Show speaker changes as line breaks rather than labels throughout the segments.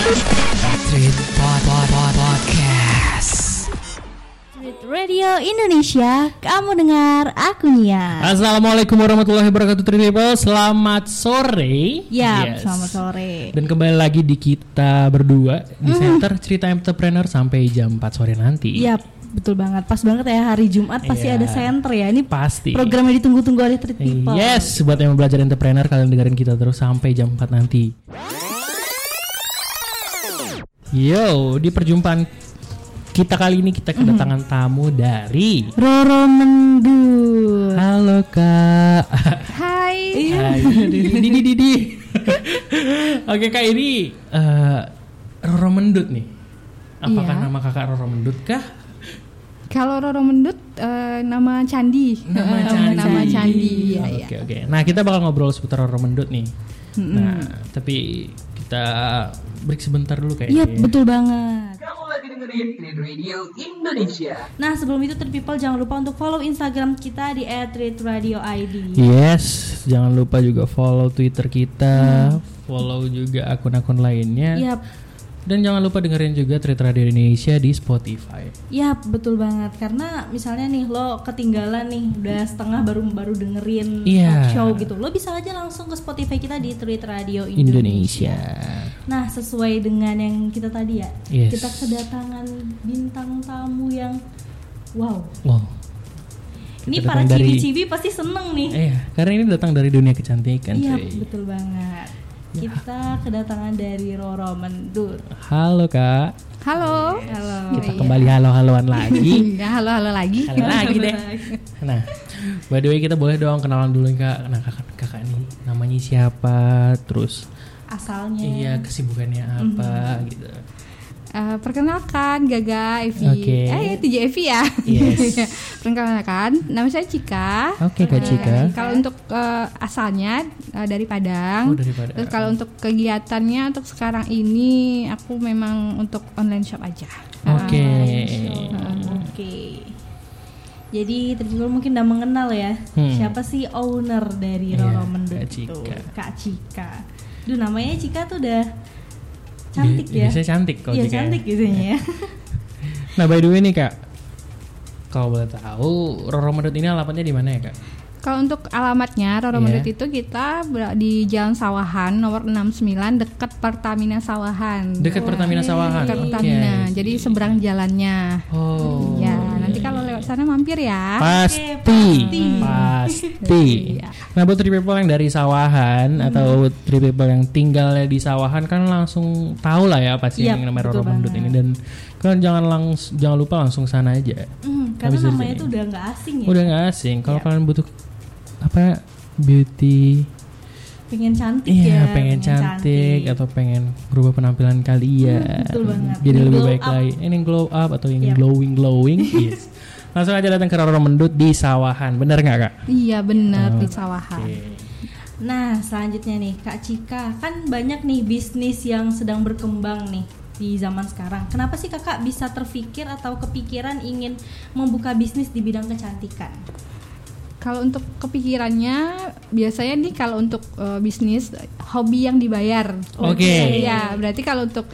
Street Pod, Pod, Pod, Podcast.
Street Radio Indonesia, kamu dengar aku Nia.
Assalamualaikum warahmatullahi wabarakatuh Tri People. Selamat sore.
Ya,
Yes.
selamat sore.
Dan kembali lagi di kita berdua di Center Cerita Entrepreneur sampai jam 4 sore nanti.
Ya.
Iya, betul banget. Pas banget ya hari Jumat pasti
Iya.
ada center ya. Ini
Pasti. Iya.
program yang ditunggu-tunggu oleh Street People.
Yes, buat yang mau belajar entrepreneur kalian dengerin kita terus sampai jam 4 nanti. Yo, di perjumpaan kita kali ini kita kedatangan tamu dari
Roro Mendut.
Halo Kak.
Iya.
Hai.
Hai, Didi Didi Didi. Oke kak ini eh, Roro Mendut nih. Apakah
Iya.
nama kakak Roro Mendut kah?
Kalau Roro Mendut eh, nama candi. Eh, Nama candi. Iya,
Oke
iya.
oke. Nah kita bakal ngobrol seputar Roro Mendut nih. Nah tapi kita break sebentar dulu
Iya,
kayaknya. ya.
betul banget.
Kamu lagi dengerin Street Radio Indonesia.
Nah, sebelum itu Street People jangan lupa untuk follow Instagram kita di
Iya.
@streetradio_id.
Yes, jangan lupa juga follow Twitter kita,
Mm.
follow juga akun-akun lainnya,
Iya.
Yap,
dan jangan lupa dengerin juga Cerita Radio Indonesia di Spotify.
yap, Ya, betul banget. Karena misalnya nih lo ketinggalan nih udah setengah baru baru dengerin
Iya.
talk show gitu. Lo bisa aja langsung ke Spotify kita di Street Radio
Indonesia.
Nah, sesuai dengan yang kita tadi ya,
Yes.
kita kedatangan bintang tamu yang wow.
Wow.
Ini
Kita
para
datang dari-
cibi-cibi pasti seneng nih.
Iya, karena ini datang dari dunia kecantikan,
Iya,
cuy.
betul banget.
Ya.
Kita kedatangan dari Roro Mendut.
Halo, Kak.
Oh, Halo. Halo.
Kita kembali halo-haloan lagi.
Ya, halo halo lagi.
Halo lagi deh. Nah, by the way kita boleh dong kenalan dulu nih, Kak. Nah, Kakak Kakak ini namanya siapa? Terus
Asalnya.
iya, kesibukannya apa gitu.
Eh, perkenalkan Gaga Evi.
Oke.
Eh, TJ Evi ya.
Yes.
perkenalkan, nama saya Cika.
Oke, Kak
Eh,
Cika.
Kalau untuk eh, asalnya eh, dari Padang.
Oh, dari Padang.
Terus kalau untuk kegiatannya untuk sekarang ini aku memang untuk online shop aja.
Oke.
Ah, Oke. Jadi terlebih dahulu mungkin udah mengenal ya
Hmm.
siapa sih owner dari
Iya,
Roro Mendut
Kak
itu?
Cika.
Kak Cika. Duh namanya Cika tuh udah cantik
Bi-
ya.
Biasanya cantik kalau
Iya
Cika ya.
cantik biasanya ya.
Nah, by the way nih, Kak. Kalau boleh tahu, Roro Medut ini alamatnya di mana ya, Kak?
Kalau untuk alamatnya Roro
Iya.
Mendut itu kita ber- di Jalan Sawahan nomor 69 dekat Pertamina Sawahan.
Dekat Pertamina Sawahan.
iya. Dekat
Oke.
Pertamina. Jadi seberang jalannya.
Oh. iya.
ya, nanti kalau lewat sana mampir ya.
Pasti, pasti. Nah buat three people yang dari sawahan atau three people yang tinggalnya di sawahan kan langsung tahu lah ya apa sih
Yap,
yang namanya
betul
Roro Mendut ini dan kan jangan langs jangan lupa langsung sana aja.
Hmm, karena
Habis dari
namanya
sini.
tuh udah nggak asing ya.
Udah nggak asing. Kalau kalian butuh apa beauty,
Pengen cantik
iya
ya.
pengen cantik, atau pengen berubah penampilan kalian,
Hmm, betul banget.
jadi
Ingin
lebih
glow
baik
up. Iya.
lagi. Ini glow up atau yang
Yap.
glowing glowing. yes. Langsung aja datang ke Roro Mendut di sawahan. Bener nggak kak?
Iya,
Ah,
benar di Sawahan.
Nah, selanjutnya nih Kak Cika, kan banyak nih bisnis yang sedang berkembang nih di zaman sekarang. Kenapa sih Kakak bisa terpikir atau kepikiran ingin membuka bisnis di bidang kecantikan?
Kalau untuk kepikirannya biasanya nih kalau untuk eh, bisnis hobi yang dibayar.
Oke.
Iya, berarti kalau untuk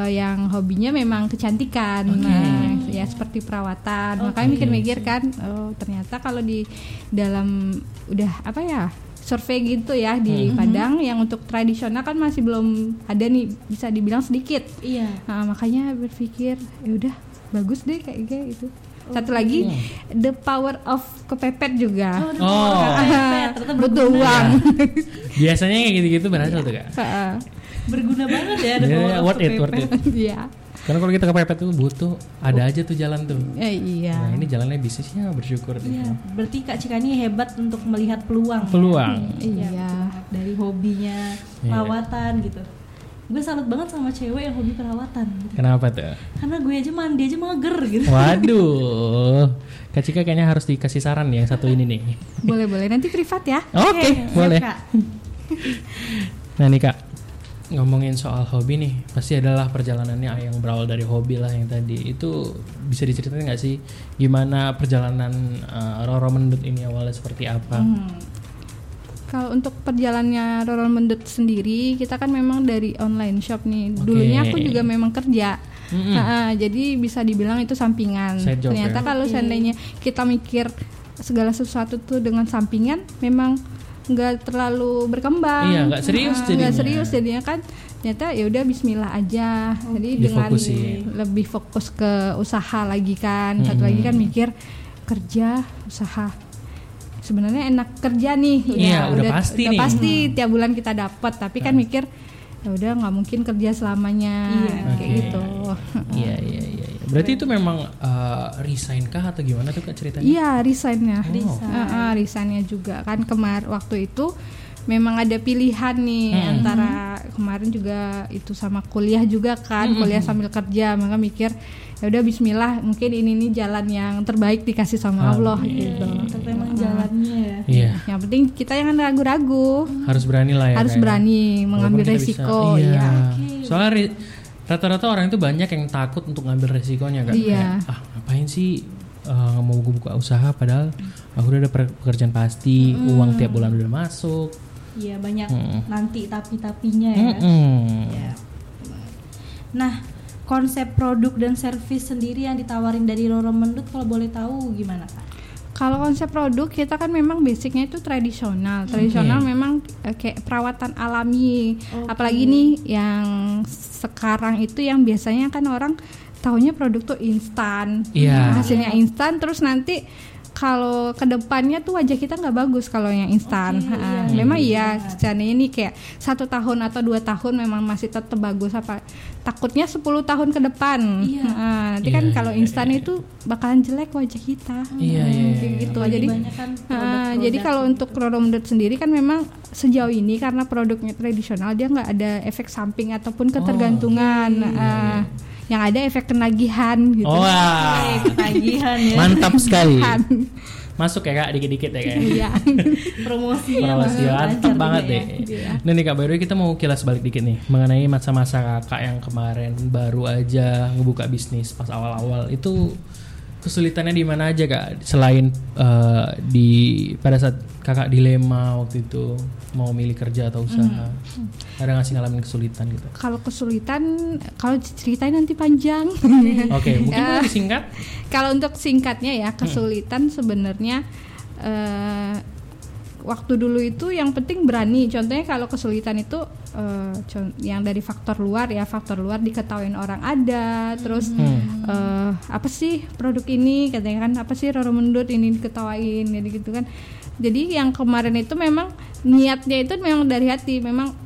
eh, yang hobinya memang kecantikan. Nah, ya seperti perawatan. Makanya mikir-mikir kan oh, ternyata kalau di dalam udah apa ya? survei gitu ya di Padang yang untuk tradisional kan masih belum ada nih bisa dibilang sedikit.
Iya.
Nah, makanya berpikir ya udah bagus deh kayak gitu. Satu lagi the power of kepepet juga.
Oh.
ternyata berguna. ya.
Butuh uang.
Iya. Biasanya kayak gitu-gitu berhasil tuh kak.
Heeh.
Berguna banget ya ada
Ya,
power of
worth it,
PP.
worth it.
Iya.
Karena kalau kita kepepet tuh butuh ada aja tuh jalan tuh.
Eh, iya.
Nah ini jalannya bisnisnya bersyukur nih.
Iya, berarti Kak Cika ini hebat untuk melihat peluang.
Peluang.
Iya,
Iya.
betul banget. dari hobinya
Iya.
perawatan gitu. Gue salut banget sama cewek yang hobi perawatan. gitu.
Kenapa tuh?
Karena gue aja mandi aja mager gitu.
Waduh, Kak Cika kayaknya harus dikasih saran nih yang satu ini nih.
Boleh-boleh nanti privat ya.
Oke,
siap,
boleh.
Kak.
Nah nih kak, ngomongin soal hobi nih, pasti adalah perjalanannya yang berawal dari hobi lah yang tadi. Itu bisa diceritain nggak sih gimana perjalanan eh, Roro Mendut ini awalnya seperti apa?
Hmm.
Kalau untuk perjalannya Roron Mendut sendiri, kita kan memang dari online shop nih. Dulunya
Oke.
aku juga memang kerja.
Mm-mm.
Nah, eh, jadi bisa dibilang itu sampingan.
Side job ya.
Ternyata kalau seandainya kita mikir segala sesuatu tuh dengan sampingan, memang nggak terlalu berkembang.
Iya, nggak serius
Eh, nggak
jadinya.
serius jadinya kan. Ternyata ya udah Bismillah aja. Jadi dengan
Difokusin.
lebih fokus ke usaha lagi kan. Satu
Mm-mm.
lagi kan mikir kerja usaha sebenarnya enak kerja nih
Iya, udah pasti
udah
nih. Hmm.
pasti tiap bulan kita dapat tapi kan mikir ya udah nggak mungkin kerja selamanya
Iya.
kayak
Oke.
gitu
Iya iya iya. iya. Berarti itu memang eh, resign kah atau gimana tuh kak ceritanya?
iya resignnya
Resign.
Heeh, resignnya juga kan kemar waktu itu memang ada pilihan nih
Hmm. Hmm.
antara kemarin juga itu sama kuliah juga kan kuliah sambil kerja maka mikir ya udah Bismillah mungkin ini nih jalan yang terbaik dikasih sama Allah gitu
Ternyata Iya, emang jalannya ya.
Iya.
yang penting kita jangan ragu-ragu
Harus berani lah ya. Kak,
harus
ya.
berani
Walaupun
mengambil
kita
resiko
bisa- iya.
ya
Soalnya ri- rata-rata orang itu banyak yang takut untuk ngambil resikonya kan.
Iya.
Kayak, ah ngapain sih eh, mau gue buka usaha padahal aku udah ada per- pekerjaan pasti, uang tiap bulan udah masuk.
Iya banyak
Mm.
nanti tapi tapinya ya.
Hmm, Mm-mm.
Nah konsep produk dan servis sendiri yang ditawarin dari Roro Mendut kalau boleh tahu gimana kak?
Kalau konsep produk kita kan memang basicnya itu tradisional. Tradisional memang eh, kayak perawatan alami. Apalagi nih yang sekarang itu yang biasanya kan orang taunya produk tuh instan.
Iya.
Hasilnya instan terus nanti kalau kedepannya tuh wajah kita nggak bagus kalau yang instan.
Oke,
Ha,
iya.
Memang iya, seandainya ini kayak satu tahun atau dua tahun memang masih tetap bagus apa takutnya 10 tahun ke depan.
Iya.
Ha, nanti kan
Iya,
kalau
iya,
instan
iya.
itu bakalan jelek wajah kita.
Iya, iya,
Hmm,
iya.
kayak gitu.
Apalagi
Jadi
banyak kan
ah,
produk-produk
jadi kalau
yang
untuk Rodom.sendiri sendiri kan memang sejauh ini karena produknya tradisional dia nggak ada efek
Oh,
samping ataupun ketergantungan.
iya,
Ah, yang ada efek kenagihan gitu.
Oh, ah.
Eh,
Wah,
ketagihan ya.
mantap sekali.
Kan.
Masuk ya kak, dikit-dikit ya kak.
Iya.
Promosinya
Promosi
bakal lancar
mantap banget
juga
deh.
Iya, ya.
Nah nih kak, by the way kita mau kilas balik dikit nih mengenai masa-masa kakak yang kemarin baru aja ngebuka bisnis pas awal-awal itu kesulitannya di mana aja kak? Selain eh, di pada saat kakak dilema waktu itu mau milih kerja atau usaha, ada nggak sih ngalamin kesulitan gitu?
Kalau kesulitan, kalau ceritain nanti panjang.
Oke, mungkin boleh singkat.
Kalau untuk singkatnya ya kesulitan sebenarnya eh, waktu dulu itu yang penting berani. Contohnya kalau kesulitan itu eh, con- yang dari faktor luar ya faktor luar diketahuin orang ada, terus eh, apa sih produk ini katanya kan apa sih Roro Mendut ini diketawain jadi gitu kan. Jadi yang kemarin itu memang niatnya itu memang dari hati memang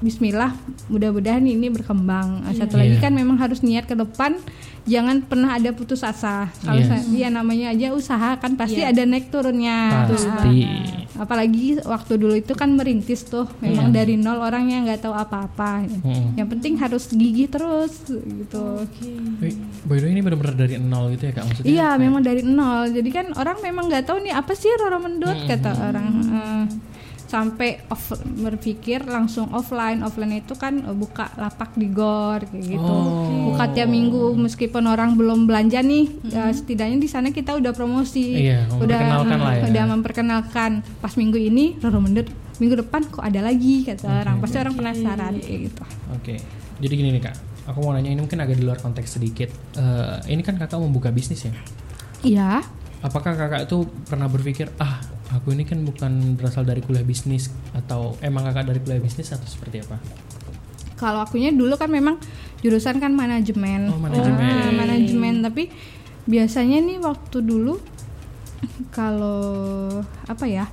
Bismillah, mudah-mudahan ini berkembang. Satu lagi
Iya.
kan memang harus niat ke depan jangan pernah ada putus asa kalau
Yes.
sa- dia namanya aja usaha kan pasti
Iya.
ada naik turunnya Nah,
Pasti.
apalagi waktu dulu itu kan merintis tuh memang dari nol orangnya nggak tahu apa-apa
Iya. Hmm.
yang penting harus gigi terus gitu
Wih, Eh, By the way ini benar-benar dari nol gitu ya kak maksudnya?
iya
kayak-
memang dari nol jadi kan orang memang nggak tahu nih apa sih Roro Mendut
Hmm,
kata orang Eh, sampai off, berpikir langsung offline offline itu kan eh, buka lapak di gor kayak gitu
Oh. Hmm.
buka tiap minggu meskipun orang belum belanja nih eh, setidaknya di sana kita udah promosi
Iya, memperkenalkan lah ya.
udah memperkenalkan pas minggu ini Roro Mendut minggu depan kok ada lagi kata orang pasti orang penasaran kayak gitu
Oke, jadi gini nih kak, aku mau nanya ini mungkin agak di luar konteks sedikit. Eh, ini kan kakak membuka bisnis ya.
iya
Apakah kakak itu pernah berpikir ah aku ini kan bukan berasal dari kuliah bisnis atau emang kakak dari kuliah bisnis atau seperti apa?
kalau akunya dulu kan memang jurusan kan manajemen.
Oh, manajemen.
Ah, manajemen, tapi biasanya nih waktu dulu kalau apa ya?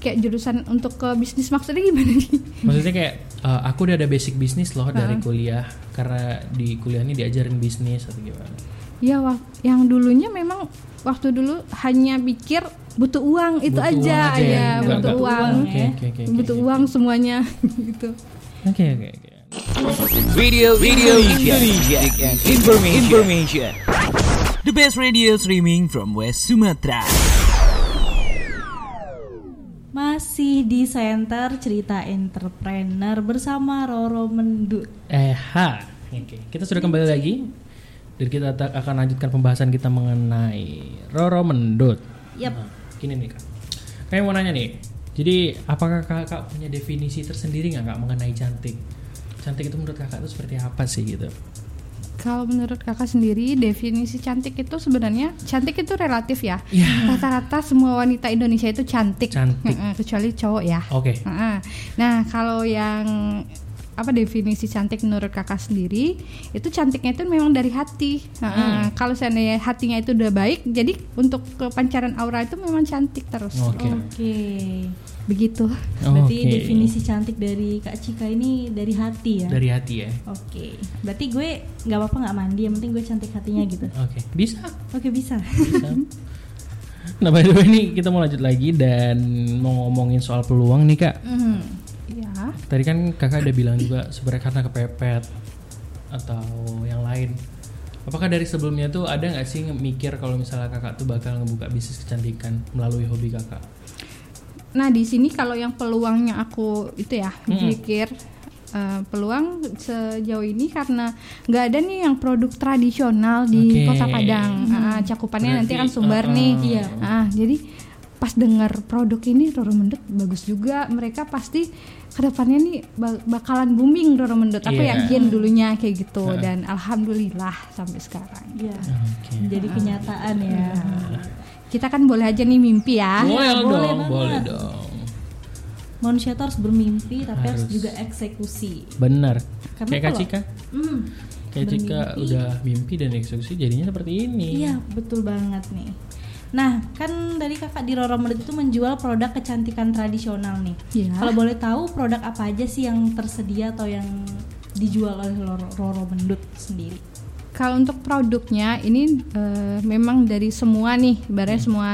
Kayak jurusan untuk ke bisnis maksudnya gimana nih?
Maksudnya kayak eh, aku udah ada basic bisnis loh dari kuliah karena di kuliah ini diajarin bisnis atau gimana?
Ya, wak- yang dulunya memang waktu dulu hanya pikir butuh uang itu
Butuh uang
aja,
aja ya,
ya,
bukan-
butuh
bukan-
uang. ya.
Oke oke oke. oke.
butuh uang semuanya gitu.
Oke oke oke.
Radio Indonesia. Indonesia. Information. Information. The best radio streaming from West Sumatra.
Masih di Center Cerita Entrepreneur bersama Roro Mendut.
Eh, ha. Oke, kita sudah kembali lagi. Dan kita ta- akan lanjutkan pembahasan kita mengenai Roro Mendut.
Yap.
Nah, gini nih, Kak. Kayak mau nanya nih, Jadi apakah kakak punya definisi tersendiri nggak kak mengenai cantik? Cantik itu menurut kakak itu seperti apa sih gitu?
Kalau menurut kakak sendiri definisi cantik itu sebenarnya cantik itu relatif ya.
Iya.
Rata-rata semua wanita Indonesia itu cantik,
Cantik.
Heeh, kecuali cowok ya.
Oke.
Heeh. Nah kalau yang apa definisi cantik menurut kakak sendiri itu cantiknya itu memang dari hati.
Hmm.
Heeh. Kalau seandainya hatinya itu udah baik, jadi untuk kepancaran aura itu memang cantik terus.
Oke.
Oke.
Begitu.
Ya.
Berarti
Oke.
definisi cantik dari Kak Cika ini dari hati ya.
dari hati ya.
Oke. Berarti gue nggak apa-apa nggak mandi, yang penting gue cantik hatinya gitu.
Oke, bisa.
Oke, bisa.
bisa. Nah, by the way nih kita mau lanjut lagi dan mau ngomongin soal peluang nih kak.
Ya.
Tadi kan kakak ada bilang juga sebenarnya karena kepepet atau yang lain. Apakah dari sebelumnya tuh ada nggak sih mikir kalau misalnya kakak tuh bakal ngebuka bisnis kecantikan melalui hobi kakak?
Nah di sini kalau yang peluangnya aku itu ya
Mm-mm.
pikir eh, peluang sejauh ini karena nggak ada nih yang produk tradisional di
Oke.
Kota Padang. Ah, cakupannya nanti
Berarti,
kan Sumbar
uh-uh.
nih.
Iya.
Ah, jadi pas dengar produk ini Roro Mendut bagus juga. Mereka pasti kedepannya nih ba- bakalan booming Roro Mendut. Aku
Iya.
yakin dulunya kayak gitu
Uh-uh.
dan alhamdulillah sampai sekarang.
Iya.
Oke.
Jadi kenyataan ya.
Kita kan boleh aja nih mimpi
Ah,
ya.
boleh
boleh
dong,
banget.
boleh dong.
Manusia tuh harus bermimpi tapi harus,
Harus.
juga eksekusi.
Benar.
Karena
Kayak Kak
kalau-
Cika.
Hmm.
Kayak Cika
Bermimpi.
udah mimpi dan eksekusi jadinya seperti ini.
Iya, betul banget nih. Nah, kan dari kakak di Roro Medut itu menjual produk kecantikan tradisional nih.
Iya.
Kalau boleh tahu produk apa aja sih yang tersedia atau yang dijual oleh Loro- Roro Mendut sendiri?
Kalau untuk produknya ini eh, memang dari semua nih,
Hmm.
barang semua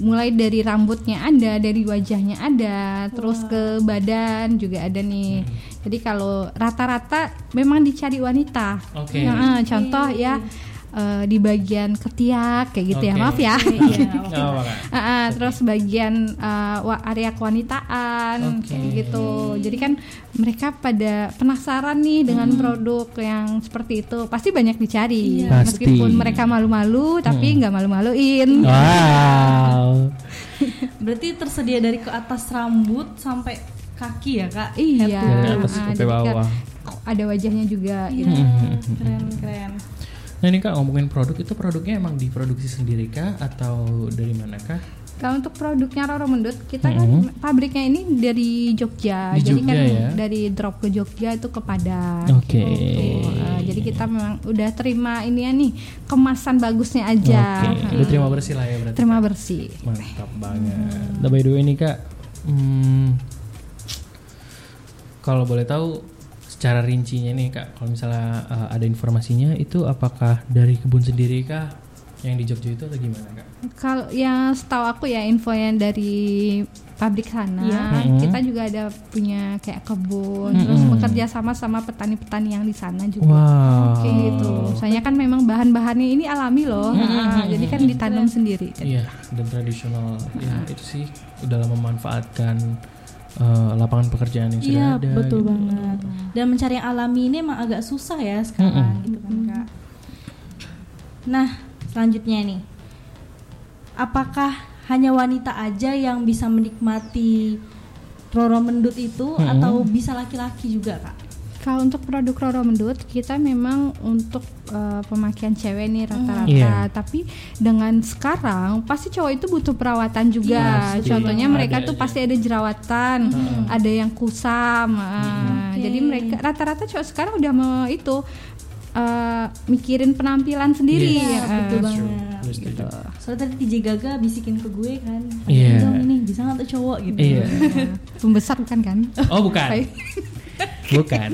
mulai dari rambutnya ada, dari wajahnya ada, terus ke badan juga ada nih.
Hmm.
Jadi kalau rata-rata memang dicari wanita.
Oke.
Nah, eh, contoh ya eh, di bagian ketiak kayak gitu ya,
Oke.
maaf ya.
Iya,
Nggak apa-apa, Kak.
Ah, ah, terus bagian eh, wa- area kewanitaan
Oke.
kayak gitu. Jadi kan mereka pada penasaran nih dengan
Hmm.
produk yang seperti itu. Pasti banyak
Iya. Pasti.
dicari.
Hmm. Oh.
Meskipun mereka malu-malu tapi nggak malu-maluin.
Wow.
Berarti tersedia dari ke atas rambut sampai kaki ya kak?
Iya.
Dari atas
ah, ah,
sampai
jadi kan
bawah.
Ada wajahnya juga. gitu.
Iya,
Mm-hmm.
keren keren.
Nah ini kak ngomongin produk itu produknya emang diproduksi sendiri kah atau dari mana kah?
Kalau untuk produknya Roro Mendut, kita kan pabriknya ini dari Jogja.
Mm-hmm. Di
jadi kan
Jogja ya?
dari drop ke Jogja itu ke Padang.
Oke.
gitu. Eh, jadi kita memang udah terima ini ya nih kemasan bagusnya aja.
Oke. Udah terima bersih lah ya berarti.
Terima bersih.
Mantap banget. Nah by the way nih kak, hmm, kalau boleh tahu secara rincinya nih kak, kalau misalnya uh, ada informasinya itu apakah dari kebun sendiri kah yang di Jogja itu atau gimana kak?
Kalau yang setahu aku ya info yang dari pabrik sana,
Iya.
Mhm.
kita juga ada punya kayak kebun, terus bekerja sama sama petani-petani yang di sana juga.
Wow.
Kayak gitu. Soalnya kan memang bahan-bahannya ini alami loh. Nah, jadi kan ditanam sendiri.
Iya dan tradisional ya itu sih dalam memanfaatkan eh, lapangan pekerjaan yang sudah
Iya
ada.
betul
gitu.
banget. Dan mencari yang alami ini emang agak susah ya sekarang gitu kan kak. Nah selanjutnya nih, apakah hanya wanita aja yang bisa menikmati Roro Mendut itu atau bisa laki-laki juga kak?
Kalau untuk produk Roro Mendut, kita memang untuk eh, pemakaian cewek nih rata-rata.
Iya.
Tapi dengan sekarang pasti cowok itu butuh perawatan juga.
Iya, Pasti. iya,
Contohnya
Ada
mereka tuh
aja.
pasti ada jerawatan,
Hmm.
ada yang kusam. ah.
Oke.
Jadi mereka rata-rata cowok sekarang udah mau itu eh, mikirin penampilan sendiri.
Yes.
ya.
Iya, betul
Eh,
banget. gitu.
Gue setuju.
Soalnya tadi TJ Gaga bisikin ke gue kan,
Iya.
dong ini bisa nggak tuh cowok gitu?
Iya.
Pembesar bukan kan?
Oh bukan, bukan,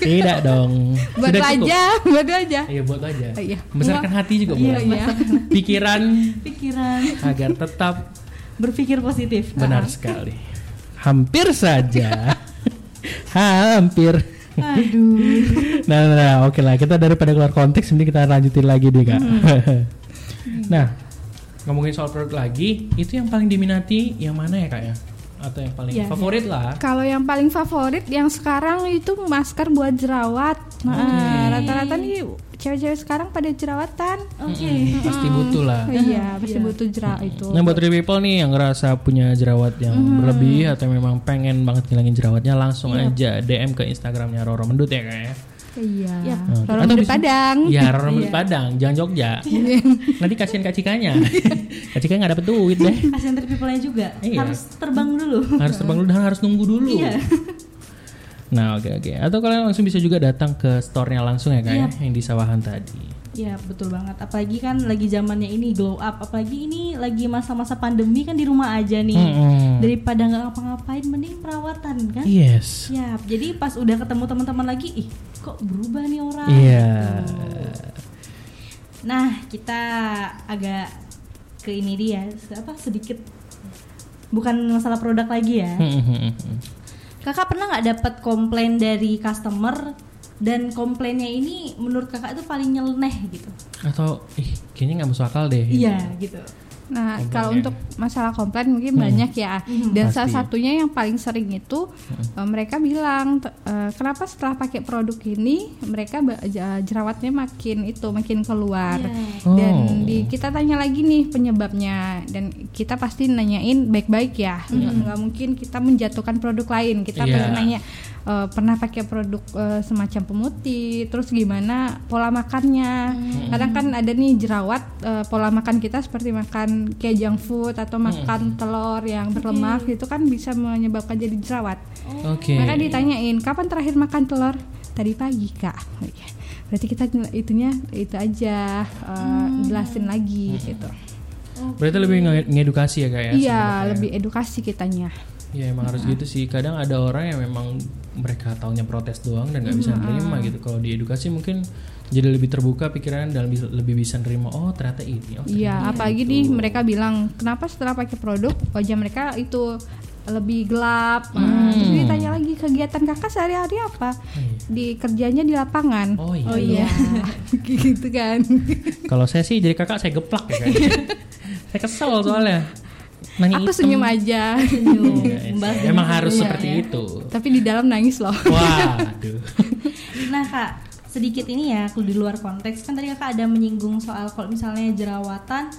tidak dong.
buat
Sudah
lo
cukup.
aja, buat lo aja.
Iya buat aja.
Oh, iya.
Membesarkan hati juga boleh.
Iya.
Pikiran
Pikiran,
agar tetap
berpikir positif.
benar sekali. Hampir saja. Hampir.
Aduh.
Nah, nah, nah, oke lah. Kita daripada keluar konteks, ini kita lanjutin lagi deh kak.
Hmm.
nah, ngomongin soal produk lagi, itu yang paling diminati yang mana ya kak ya? atau yang paling
Iya, iya.
favorit lah
Kalau yang paling favorit yang sekarang itu masker buat jerawat. Nah, rata-rata nih cewek-cewek sekarang pada jerawatan.
Oke.
Mm-mm, Hmm, pasti
Hmm.
butuh lah
Iya, pasti butuh jerawat itu.
Ah. Nah buat three people nih yang ngerasa punya jerawat yang berlebih atau memang pengen banget ngilangin jerawatnya langsung aja DM ke Instagramnya Roro Mendut ya kayaknya.
Iya.
Yap.
Oke.
Kalau
Atau
di
bisa-
Padang.
Ya Roro Mendut Padang, jangan Jogja. Nanti kasihan kacikanya. kacikanya nggak dapet duit deh.
Asian Trip People-nya juga
Iya.
harus terbang dulu.
Harus terbang dulu dan harus nunggu dulu.
Iya.
Nah oke oke. Atau kalian langsung bisa juga datang ke store-nya langsung ya kayaknya yang di Sawahan tadi.
Iya, betul banget. Apalagi kan lagi zamannya ini glow up. Apalagi ini lagi masa-masa pandemi kan di rumah aja nih.
Mm-mm. Iya.
Daripada nggak ngapa-ngapain mending perawatan kan?
Yes.
Siap. Jadi pas udah ketemu teman-teman lagi, ih kok berubah nih orang. Gitu.
Iya.
Nah, kita agak ke ini dia, apa sedikit bukan masalah produk lagi ya.
Hmm,
Kakak pernah nggak dapat komplain dari customer dan komplainnya ini menurut kakak itu paling nyeleneh gitu?
Atau ih kayaknya nggak masuk akal deh.
Iya gitu.
Nah,
Komplain
kalau
ya.
untuk masalah komplain mungkin
Hmm.
banyak ya. Dan salah satunya yang paling sering itu
Hmm.
eh, mereka bilang t- eh, kenapa setelah pakai produk ini mereka ba- ja- jerawatnya makin itu makin keluar.
Iya.
Dan
Oh.
di- kita tanya lagi nih penyebabnya dan kita pasti nanyain baik-baik ya. Nggak nggak mungkin kita menjatuhkan produk lain. Kita
Iya.
pernah nanya eh, pernah pakai produk eh, semacam pemutih, terus gimana pola makannya. Kadang kan ada nih jerawat eh, pola makan kita seperti makan kayak junk food atau makan telur yang berlemak itu kan bisa menyebabkan jadi jerawat.
Oke.
Maka ditanyain kapan terakhir makan telur? Tadi pagi kak. Oh, iya. Berarti kita nyel- itunya itu aja eh,
Hmm.
jelasin lagi gitu.
Berarti lebih nge- ngedukasi ya kayak.
Iya lebih edukasi kitanya.
Ya emang harus gitu sih. Kadang ada orang yang memang mereka taunya protes doang dan nggak bisa nerima gitu. Kalau di edukasi mungkin jadi lebih terbuka pikiran dan lebih, lebih bisa nerima. Oh ternyata ini. Oh ternyata
Iya, apalagi nih mereka bilang kenapa setelah pakai produk wajah mereka itu lebih gelap.
Hmm.
Nah, Terus ditanya lagi kegiatan kakak sehari-hari apa? Di kerjanya di lapangan.
iya. Oh iya.
gitu kan.
Kalau saya sih jadi kakak saya geplak ya kayaknya. saya kesel soalnya. Nanya
Aku
hitam.
senyum aja.
Iya, iya.
Membahas
Emang
dengan
harus
dunia
seperti
ya.
itu.
Tapi di dalam nangis loh.
Waduh.
Nah kak, sedikit ini ya, kalau di luar konteks kan tadi kakak ada menyinggung soal kalau misalnya jerawatan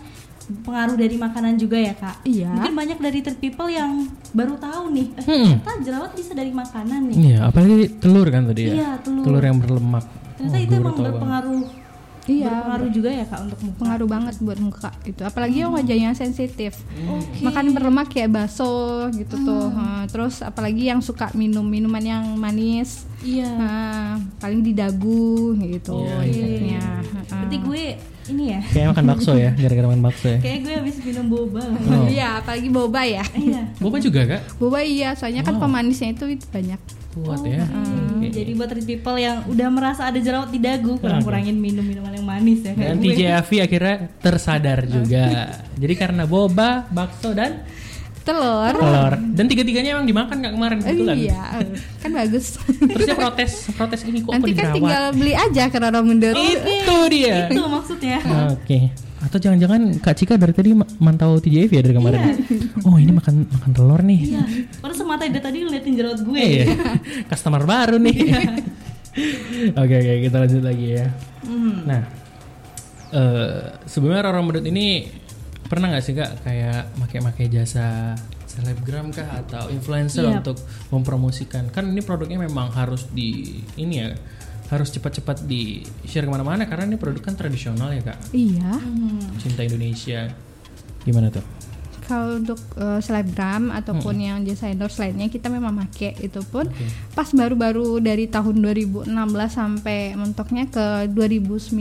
pengaruh dari makanan juga ya kak.
Iya.
Mungkin banyak dari third people yang baru tahu nih, eh,
Mm-mm.
ternyata jerawat bisa dari makanan nih.
Iya, apalagi telur kan tadi ya.
Iya, telur.
yang berlemak.
Ternyata
Oh,
itu
gue baru
emang
tahu banget.
berpengaruh,
iya.
berpengaruh juga ya kak untuk muka.
Pengaruh banget buat muka itu. Apalagi yang wajahnya sensitif. Makan berlemak kayak bakso gitu tuh. Nah, Terus apalagi yang suka minum minuman yang manis.
Iya.
Nah, paling di dagu gitu
Iya,
efeknya. Heeh.
Berarti gue ini ya,
Kayaknya makan bakso ya, gara-gara makan bakso ya.
kayak gue habis minum boba.
Oh.
Iya, apalagi boba ya.
Iya.
Boba juga kak?
Boba iya, soalnya kan
Oh.
pemanisnya itu, itu banyak.
Kuat ya.
Hmm,
Iya.
Jadi buat third people yang udah merasa ada jerawat di dagu, kurang-kurangin minum minuman yang manis ya kayak
Dan
gue.
Iya.
TJ Avi akhirnya tersadar juga. Jadi karena boba, bakso dan
Telur.
telur. Dan tiga-tiganya emang dimakan nggak kemarin
Eh,
kebetulan.
Iya, kan bagus.
Terus dia protes, protes ini kok
Nanti
kok
kan
dirawat?"
tinggal beli aja ke Roro Mendut.
Itu dia.
Itu ya. maksudnya.
Iya.
Nah. Oke. Atau jangan-jangan Kak Cika dari tadi ma- mantau TJF ya dari kemarin?
Iya.
Oh ini makan makan telur nih.
Iya, orang semata dia tadi ngeliatin jerawat gue.
Iya. Customer baru nih. Oke oke kita lanjut lagi ya. Nah eh sebelumnya Roro Medut ini pernah nggak sih kak kayak make-make jasa selebgram kah atau influencer
Iya.
untuk mempromosikan kan ini produknya memang harus di ini ya harus cepat-cepat di share kemana-mana karena ini produk kan tradisional ya kak
Iya.
cinta Indonesia gimana tuh
Kalau untuk eh, selebgram ataupun yang jasa endorse lainnya kita memang make itu pun pas baru-baru dari tahun 2016 sampai mentoknya ke 2019.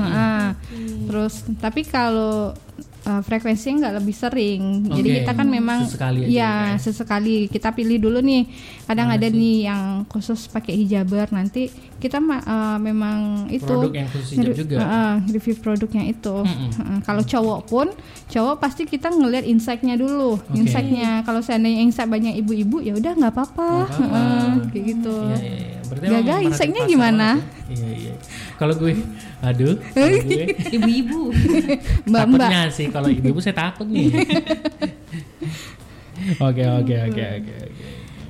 Nah, Terus tapi kalau eh, frekuensinya nggak lebih sering. Jadi
Oke.
kita kan memang
Sesekali aja
ya
ya.
sesekali kita pilih dulu nih. Kadang ada nih yang khusus pakai hijaber nanti kita ma- eh, memang itu
Produk yang khusus hijab
Ngeri-
juga.
Heeh, eh, review produknya itu. Heeh, Kalau cowok pun, cowok pasti kita ngelihat insight-nya dulu,
Oke.
insight-nya. Kalau seandainya insight banyak ibu-ibu, ya udah nggak apa-apa, Heeh, kayak gitu.
Iya, iya, iya. Berarti
Gaga,
emang merhatiin
insight-nya
pasar
gimana?
banget ya. Iya, iya. Kalau gue, aduh, kalau gue
Ibu-ibu.
Mbak-mbak,
takutnya sih kalau ibu-ibu saya takut nih. Oke oke oke oke oke.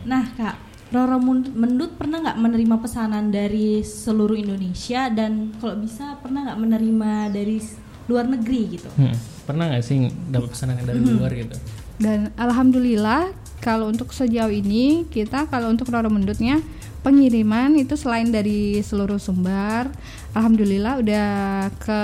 Nah kak, Roro Mun- Mendut pernah nggak menerima pesanan dari seluruh Indonesia dan kalau bisa pernah nggak menerima dari s- luar negeri gitu?
Hmm, Pernah nggak sih dapat pesanan yang dari luar gitu?
Dan alhamdulillah kalau untuk sejauh ini kita kalau untuk Roro Mendutnya pengiriman itu selain dari seluruh Sumbar, alhamdulillah udah ke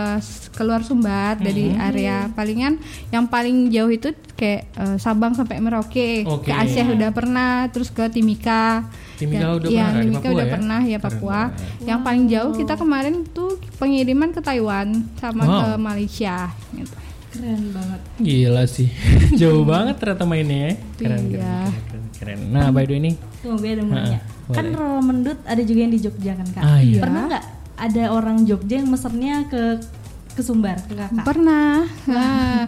keluar Sumbar dari
Mm-hmm.
area palingan yang paling jauh itu kayak eh, Sabang sampai Merauke,
Oke.
ke Aceh udah pernah, terus ke Timika.
Timika
Dan-
udah
iya,
pernah, di
Timika
Papua
udah
ya?
pernah ya
Keren
Papua.
banget.
Yang paling jauh kita kemarin tuh pengiriman ke Taiwan sama
Wow.
ke Malaysia gitu.
Keren banget.
Gila sih, jauh banget ternyata mainnya. ya. Keren, keren,
Iya.
keren, keren, keren. Nah by the way nih,
Tuh gue ada mau nanya.
boleh.
Kan Roro Mendut ada juga yang di Jogja kan kak?
Ah, iya.
Pernah nggak ada orang Jogja yang mesennya ke ke Sumbar ke kakak?
Pernah. Nah,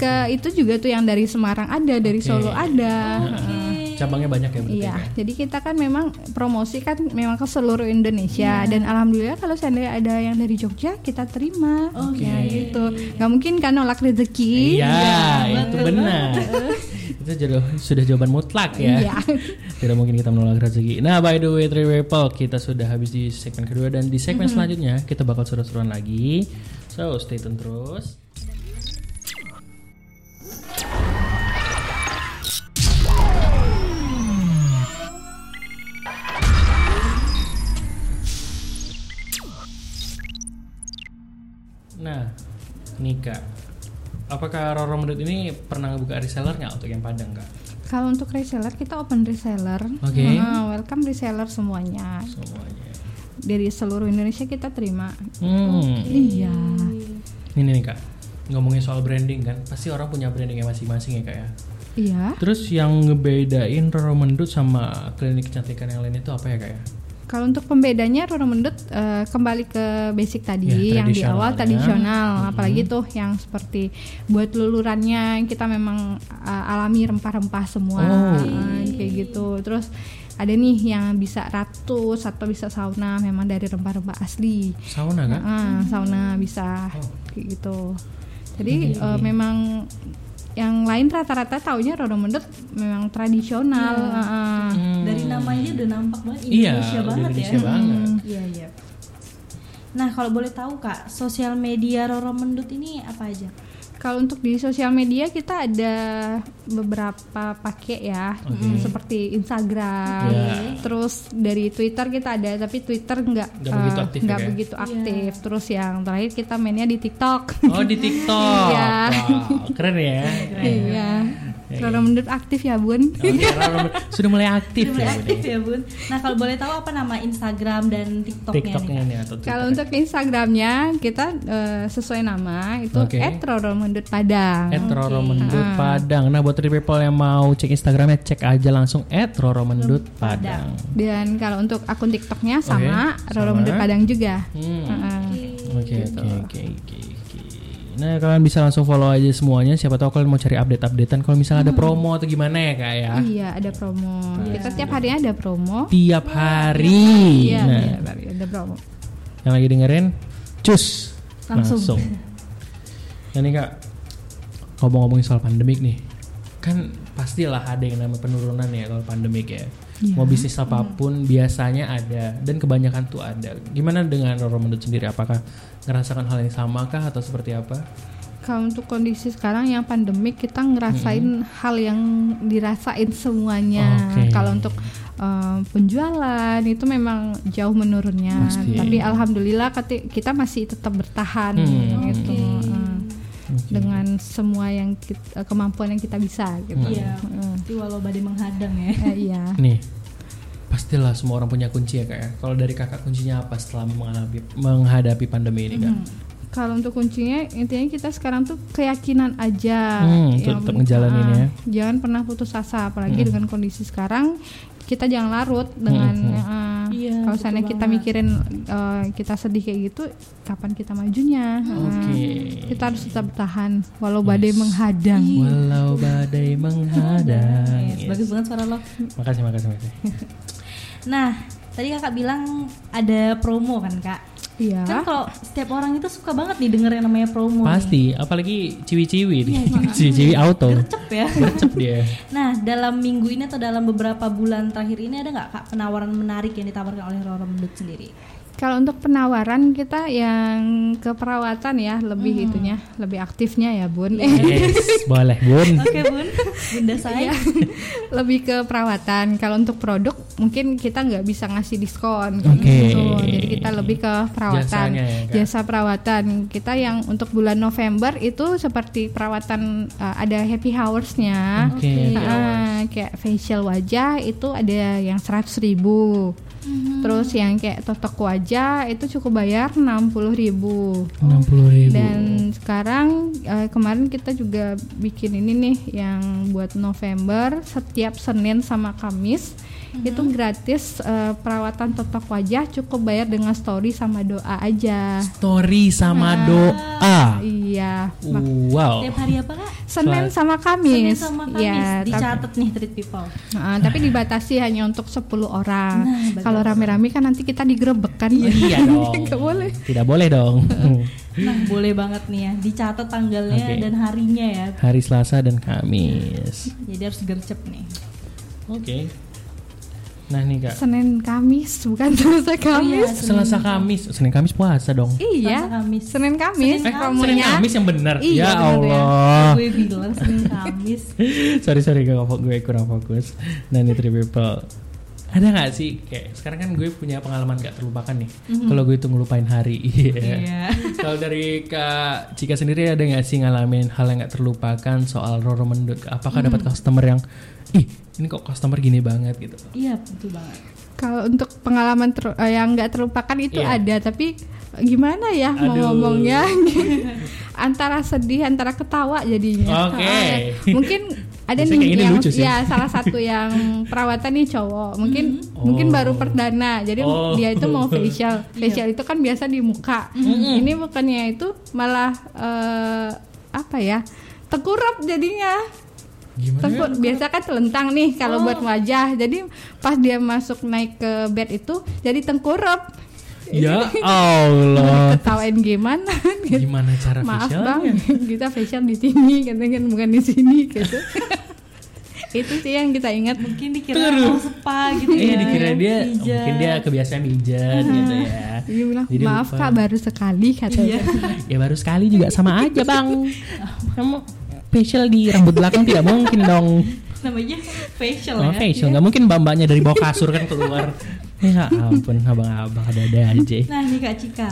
ke itu juga tuh yang dari Semarang ada, dari Solo ada.
nah,
Ah.
cabangnya banyak ya Ah, berarti.
Iya,
ya?
jadi kita kan memang promosi kan memang ke seluruh Indonesia
Iya.
dan alhamdulillah kalau seandainya ada yang dari Jogja kita terima. Oh gitu. Nggak mungkin kan nolak rezeki.
Iya, itu benar. itu jodoh, sudah jawaban mutlak ya.
Iya.
Tidak mungkin kita menolak rezeki. Nah, by the way, Three Way People, kita sudah habis di segmen kedua dan di segmen selanjutnya kita bakal seru-seruan lagi. So, stay tune terus. Nah, Nika, apakah Roro Mendut ini pernah ngebuka reseller nggak untuk yang Padang kak?
Kalau untuk reseller kita open reseller.
Oke.
Nah, welcome reseller semuanya.
Semuanya.
Dari seluruh Indonesia kita terima.
Hmm.
Iya.
Ini nih kak, ngomongin soal branding kan, pasti orang punya brandingnya masing-masing ya kak ya.
Iya.
Terus yang ngebedain Roro Mendut sama klinik kecantikan yang lain itu apa ya kak ya?
Kalau untuk pembedanya Roro Mendut eh, kembali ke basic tadi
Ya,
yang di
tradisional
awal
ya.
tradisional, apalagi tuh yang seperti buat lulurannya kita memang eh, alami rempah-rempah semua
Oh.
eh, kayak gitu. Terus ada nih yang bisa ratus atau bisa sauna memang dari rempah-rempah asli.
Sauna kan? Oh. kak?
Ah, sauna bisa kayak gitu.
Iya,
Jadi eh, memang yang lain rata-rata taunya Roro Mendut memang tradisional. ah, ah.
Dari namanya udah nampak banget
Iya,
Indonesia
udah
banget
Indonesia
ya.
banget.
Iya iya. Nah kalau boleh tahu kak, sosial media Roro Mendut ini apa aja?
Kalau untuk di sosial media kita ada beberapa pakai ya, Mm, seperti Instagram,
Ya.
terus dari Twitter kita ada, tapi Twitter nggak
Nggak begitu
eh,
aktif ya,
nggak
Kak?
begitu aktif. Terus yang terakhir kita mainnya di TikTok.
Oh di TikTok,
Iya.
Wow, keren ya.
Iya, Roro Mendut aktif ya bun.
Oke, Roro Mendut sudah mulai aktif
Sudah
ya.
mulai aktif ya bun. Nah kalau boleh tahu apa nama Instagram dan
Bun?
TikToknya?
TikToknya
nih, Kak?
nih atau Twitter.
Kalau untuk Instagramnya kita eh, sesuai nama itu
Oke.
@roromendutpadang.
At Roro Mendut
Ah.
Padang. Nah buat three people yang mau cek Instagramnya cek aja langsung at Roro Mendut Padang.
Dan kalau untuk akun TikToknya sama
Oke,
Roro
sama.
Mendut Padang juga.
Hmm.
Heeh.
Oke
Gitu.
oke oke oke. oke. Nah kalian bisa langsung follow aja semuanya. Siapa tahu kalian mau cari update-updatean. Kalau misalnya ada
Hmm.
promo atau gimana ya kak ya.
Iya, ada promo.
Iya.
Kita tiap harinya ada promo.
Tiap hari.
Iya,
Nah,
iya, Barbie, ada promo.
yang lagi dengerin, cus langsung. Nah ini kak ngomong-ngomongin soal pandemik nih, kan pastilah ada yang namanya penurunan ya kalau pandemik ya.
Iya.
Mau bisnis apapun
Hmm.
biasanya ada dan kebanyakan tuh ada. Gimana dengan Roro Mendut sendiri? Apakah ngerasakan hal yang sama kah atau seperti apa?
Kalau untuk kondisi sekarang yang pandemik kita ngerasain hal yang dirasain semuanya.
Oke.
Kalau untuk eh, penjualan itu memang jauh menurunnya.
Pasti.
Tapi alhamdulillah kati- kita masih tetap bertahan
Hmm.
gitu. Eh, Dengan semua yang kita- kemampuan yang kita bisa
Hmm.
gitu.
Iya. Tapi walau badai menghadang ya.
Eh, iya.
Nih, pastilah semua orang punya kunci ya kak. ya. Kalau dari kakak kuncinya apa setelah menghadapi, menghadapi pandemi ini kak?
Mm-hmm. Kalau untuk kuncinya intinya kita sekarang tuh keyakinan aja.
Hmm,
Yang
tetap
penting-
ngejalanin ya. Hmm.
ah, Jangan pernah putus asa apalagi dengan kondisi sekarang kita jangan larut dengan
Hmm,
ah,
Iya,
kalau
betul
seandainya kita
banget.
mikirin eh, kita sedih kayak gitu kapan kita majunya? Ah,
Oke.
Kita harus tetap bertahan walau badai menghadang.
Walau badai menghadang.
Yes,
Iya,
Bagus banget suara lo.
Makasih, makasih, makasih.
Nah tadi kakak bilang ada promo kan kak?
Iya.
Kan kalau setiap orang itu suka banget nih dengerin namanya promo. nih.
Pasti, apalagi ciwi-ciwi
Iya,
nih. ciwi-ciwi auto.
Gercep ya.
Gercep dia.
Nah, dalam minggu ini atau dalam beberapa bulan terakhir ini ada nggak kak penawaran menarik yang ditawarkan oleh Roro Mendut sendiri?
Kalau untuk penawaran kita yang keperawatan ya
Hmm.
lebih itunya, lebih aktifnya ya Bun.
Iya,
Yes, boleh Bun.
Oke bun, Iya. bunda saya.
lebih ke perawatan. Kalau untuk produk mungkin kita nggak bisa ngasih diskon kayak
Oke.
gitu. Jadi kita lebih ke perawatan.
Jasanya ya, Kak?
Jasa perawatan. Kita yang untuk bulan November itu seperti perawatan uh, ada happy hours-nya.
Oke, happy
Ah, kayak facial wajah itu ada yang 100.000 ribu Terus yang kayak totok wajah itu cukup bayar 60.000 ribu
60 ribu.
dan sekarang eh, kemarin kita juga bikin ini nih yang buat November setiap Senin sama Kamis itu gratis eh, perawatan totok wajah cukup bayar dengan story sama doa aja.
Story sama doa.
Ah. Iya. mak-
Wow.
Setiap hari apa kak?
Senin sama
Senin
Kamis.
sama Kamis.
Ya, tapi-
Dicatat nih treat people.
Ah, tapi dibatasi hanya untuk 10 orang.
Nah, bagus.
Kalau rame-rame kan nanti kita digerebek kan.
Iya dong.
Nggak boleh.
Tidak boleh dong.
Nah, boleh banget nih ya. Dicatat tanggalnya
Oke.
dan harinya ya.
hari Selasa dan Kamis.
Jadi harus gercep nih.
Oke. Nah nih kak.
Senin Kamis bukan Selasa Kamis.
Selasa Kamis, Senin Kamis puasa dong.
Iya.
Selasa, Kamis.
Senin Kamis.
Eh, Senin
promonya.
Kamis yang benar.
Iya,
ya
benar ya.
Allah.
Gue bilang Senin Kamis.
sorry sorry gue, gue kurang fokus. Nah ini Three people. Ada nggak sih kayak sekarang kan gue punya pengalaman gak terlupakan nih. Kalau gue itu ngelupain hari. Mhm. Iya.
Iya.
Kalau dari Kak Cika sendiri ada nggak sih ngalamin hal yang nggak terlupakan soal Roro Mendut? Apakah dapat customer yang ih ini kok customer gini banget gitu?
Iya, betul banget.
Kalau untuk pengalaman ter- eh, yang nggak terlupakan itu
Iya.
ada, tapi gimana ya mau
Aduh.
ngomongnya? antara sedih, antara ketawa jadinya.
Oke.
Eh, mungkin ada
Biasanya kayak
nih
gini
yang
lucu sih.
ya salah satu yang perawatan nih cowok. Mungkin mungkin
Oh.
baru perdana. Jadi
Oh.
dia itu mau facial. Facial itu kan biasa di muka.
Mm-hmm.
Ini bukannya itu malah eh, apa ya? Tengkurap jadinya.
Gimana?
Tengkur, biasa kan telentang nih kalau buat
Oh.
wajah. Jadi pas dia masuk naik ke bed itu jadi tengkurap.
Ya
Mau
Allah.
Ketawain gimana? gitu.
Gimana cara
Maaf
facialnya?
bang, kita facial di sini, katanya kan bukan di sini gitu. itu sih yang kita ingat.
Mungkin dikira mau spa gitu
Iya
ya.
dikira dia
Pijat.
mungkin dia kebiasaan mijat gitu ya.
Dia Iya, bilang
Jadi
maaf
lupa.
kak baru sekali katanya.
Ya baru sekali juga sama aja bang. Kamu facial di rambut belakang tidak mungkin dong.
namanya facial
Oh,
ya.
facial nggak mungkin mbak-mbaknya dari bawah kasur kan keluar. Ya ampun abang-abang ada-ada aja.
Nah nih Kak Cika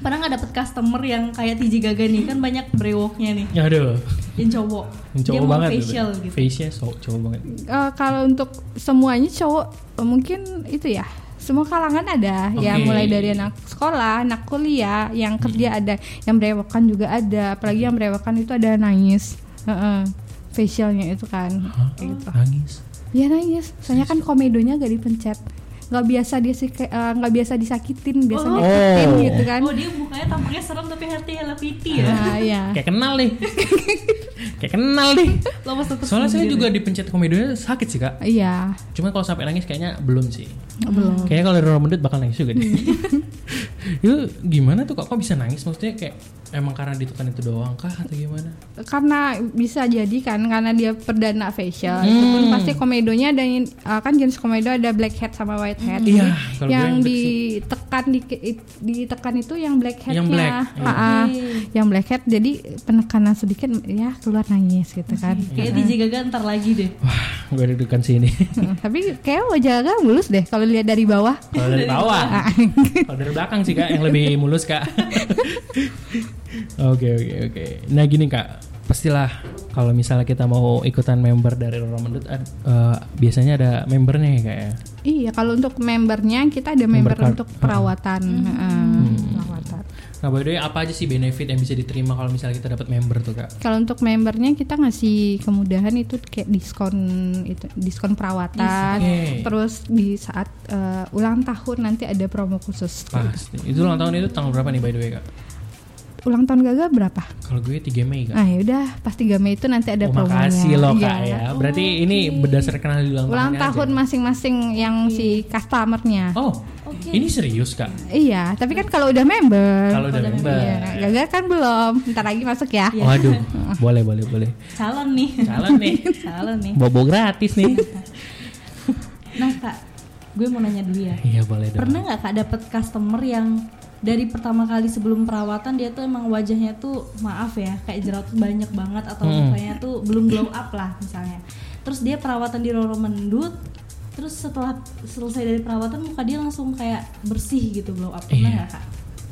Pernah nggak dapet customer yang kayak Tiji Gaga nih Kan banyak brewoknya nih
Ya aduh,
Yang cowok
cowok
Dia mau
banget.
facial gitu
Facial so- cowok banget.
Eh, kalau untuk semuanya cowok eh, mungkin itu ya semua kalangan ada ya
Oke.
mulai dari anak sekolah anak kuliah
Hmm.
yang kerja ada yang berewokan juga ada apalagi yang berewokan itu ada nangis Heeh. facialnya itu kan
Hah?
Kayak gitu
Nangis.
ya nangis soalnya kan komedonya gak dipencet nggak biasa dia sih eh, nggak biasa disakitin biasa
Oh.
nyakitin gitu kan
Oh dia mukanya tampaknya serem tapi hati Hello Kitty
Iya.
ya
nah, ya
Kayak kenal nih. Kayak kenal nih.
Lo pas tetep
Soalnya saya
sendiri.
juga dipencet komedonya sakit sih kak.
iya
Cuma kalau sampai nangis kayaknya belum sih.
belum
Kayaknya kalau Roro Mendut bakal nangis juga deh. itu gimana tuh kok kok bisa nangis? Maksudnya kayak emang karena ditekan itu doang kah atau gimana?
karena bisa jadi kan karena dia perdana facial itu pun
Hmm.
pasti komedonya ada yang- uh, kan jenis komedo ada black hat sama white hat
Hmm. Iya,
Jadi
kalau gue
yang
yang black
ditekan di, ditekan itu yang black hatnya
Yang black, iya.
Ah, yang black hat jadi penekanan sedikit ya keluar nangis gitu kan
Iya.
Kayak Tiji Gaga ntar lagi deh
Wah, gue dudukan sini.
Hmm, tapi kayak wajah agak mulus deh kalau lihat dari bawah Ah,
kalau dari bawah, kalau dari belakang sih kak, yang lebih mulus kak. Oke oke oke. Nah gini kak, pastilah kalau misalnya kita mau ikutan member dari Roro Mendut, ad- eh, biasanya ada membernya ya kak ya.
iya kalau untuk membernya kita ada
Member
member,
card. Hmm.
untuk perawatan eh, perawatan
Nah by the way, apa aja sih benefit yang bisa diterima kalau misalnya kita dapat member tuh kak?
Kalau untuk membernya kita ngasih kemudahan itu kayak diskon itu diskon perawatan.
Oke.
Terus di saat eh, ulang tahun nanti ada promo khusus.
Pasti. Itu ulang tahun itu tanggal berapa nih by the way kak?
ulang tahun Gaga berapa?
Kalau gue 3 Mei kak.
Ah yaudah pas 3 Mei itu nanti
Ya.
ada
oh,
promonya.
makasih loh kak
Iya.
ya. Berarti ini berdasarkan hari ulang,
Ulang
tahunnya
tahun
aja.
masing-masing yang
Iya.
si customernya.
Oh,
Oke.
ini serius kak?
Iya, tapi kan kalau udah member.
Kalau udah member.
Iya, Gaga kan belum. Ntar lagi masuk ya.
Waduh, boleh boleh boleh.
Calon nih.
Calon nih.
Calon nih.
Bobo gratis nih.
Nah kak, gue mau nanya dulu ya.
Iya boleh dong.
Pernah nggak kak dapet customer yang dari pertama kali sebelum perawatan dia tuh emang wajahnya tuh maaf ya kayak jerawat banyak banget atau
Hmm.
mukanya tuh belum glow up lah misalnya. Terus dia perawatan di Roro Mendut, terus setelah selesai dari perawatan muka dia langsung kayak bersih gitu glow up. Pernah
Iya.
nggak kak?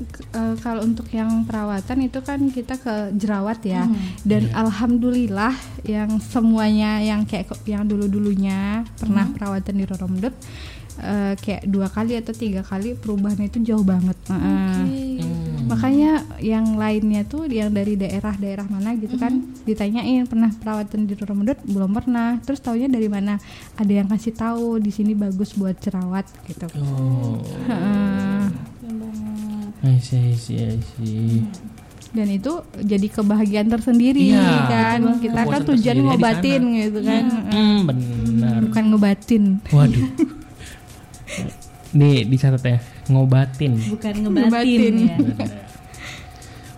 K- eh, kalau untuk yang perawatan itu kan kita ke jerawat ya. Dan alhamdulillah yang semuanya yang kayak ke- yang dulu-dulunya pernah perawatan di Roro Mendut eh, kayak dua kali atau tiga kali perubahannya itu jauh banget.
Hmm.
Heeh.
Mm-hmm.
Makanya yang lainnya tuh yang dari daerah-daerah mana gitu kan ditanyain pernah perawatan di Roro Mendut belum pernah. Terus taunya dari mana? Ada yang kasih tahu di sini bagus buat jerawat gitu.
Oh,
Heeh.
I see, I see, I see.
dan itu jadi kebahagiaan tersendiri
Iya,
kan kita
Kepuasan
kan tujuan
tersendiri di
ngobatin
sana.
gitu kan
Hmm, benar.
bukan ngebatin
Waduh. Nih dicatat ya, ngobatin.
Bukan
Ngebatin.
ngebatin ya.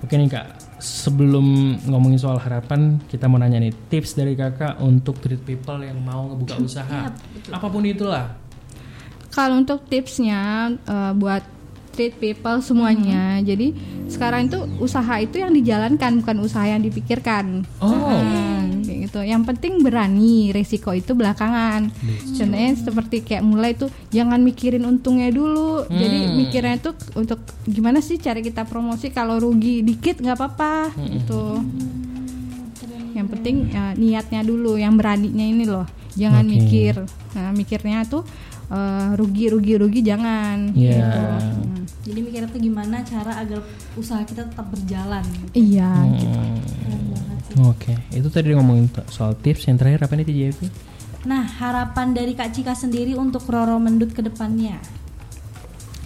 Oke nih kak, sebelum ngomongin soal harapan, kita mau nanya nih tips dari kakak untuk treat people yang mau ngebuka usaha, apapun itulah.
kalau untuk tipsnya eh, buat treat people semuanya jadi sekarang itu usaha itu yang dijalankan bukan usaha yang dipikirkan
Oh.
Hmm, kayak gitu yang penting berani resiko itu belakangan contohnya seperti kayak mulai tuh jangan mikirin untungnya dulu jadi
Hmm.
mikirnya itu untuk gimana sih cara kita promosi kalau rugi dikit nggak apa-apa
Hmm.
gitu yang penting ya, niatnya dulu yang beraninya ini loh jangan
Oke.
mikir nah, mikirnya tuh eh, rugi rugi rugi jangan Gitu.
Iya.
Jadi mikirnya tuh gimana cara agar usaha kita tetap berjalan. gitu.
iya
Hmm. Oke, itu tadi ngomongin t- soal tips yang terakhir apa nih TJP?
Nah, harapan dari Kak Cika sendiri untuk Roro Mendut ke depannya.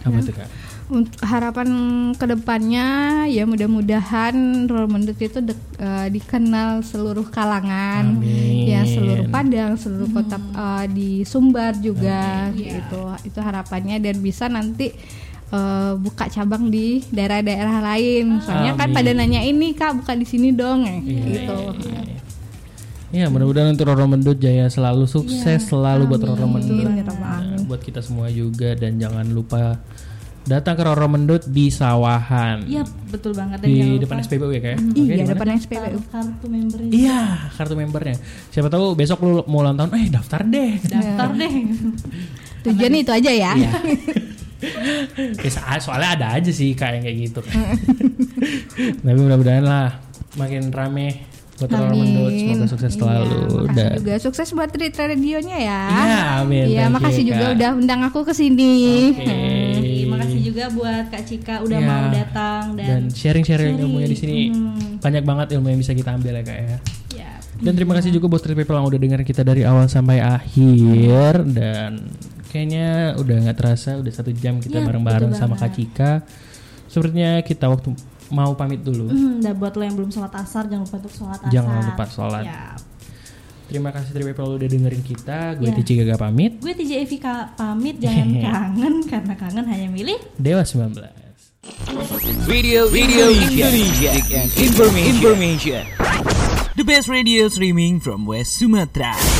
Apa tuh kak?
Untuk harapan kedepannya ya mudah-mudahan Roro Mendut itu dek- eh, dikenal seluruh kalangan,
Amin.
ya seluruh Padang, seluruh kota eh, di Sumbar juga gitu. Itu harapannya dan bisa nanti eh, buka cabang di daerah-daerah lain. Soalnya kan
Amin.
pada nanya ini kak buka di sini dong, eh, gitu.
iya, iya. Iya, mudah-mudahan untuk Roro Mendut jaya selalu sukses selalu buat Roro Mendut.
Ya Rabbal
Nah, buat kita semua juga dan jangan lupa datang ke Roro Mendut di Sawahan.
Iya, betul banget dan jangan
Di
lupa
depan SPBU ya kayak. Oke,
Iya,
di mana?
depan SPBU.
taruh kartu membernya.
Iya, kartu membernya. Siapa tahu besok lu mau ulang tahun, eh daftar deh.
Daftar
iya.
deh.
Tujuan itu aja ya.
Ya, so- soalnya ada aja sih kayak kayak gitu. Tapi mudah-mudahan lah makin rame buat Roro Mendut. Semoga sukses
Iya,
selalu
makasih
dan
juga sukses buat Treat Radionya ya.
Iya, amin.
Iya,
Thank you,
makasih juga
Kak.
udah undang aku ke sini.
Oke, makasih juga buat Kak Cika udah
Iya.
mau datang
dan
dan, Mm-hmm.
sharing-sharing ilmunya di sini banyak banget ilmu yang bisa kita ambil ya kak ya.
ya.
Dan terima kasih juga buat Street People yang udah dengerin kita dari awal sampai akhir dan kayaknya udah nggak terasa udah satu jam kita
Ya,
bareng-bareng
betul
sama Kak
banget.
Cika. Sepertinya kita waktu mau pamit dulu.
Hmm, dan buat lo yang belum sholat asar jangan lupa untuk sholat asar.
Jangan lupa sholat.
Ya.
Terima kasih Street People udah dengerin kita. Gue
Ya.
Tici Gaga pamit.
Gue TJ Evika pamit jangan kangen karena kangen hanya milih
Dewa 19.
Radio Radio Indonesia. Indonesia. Information. The best radio streaming from West Sumatra.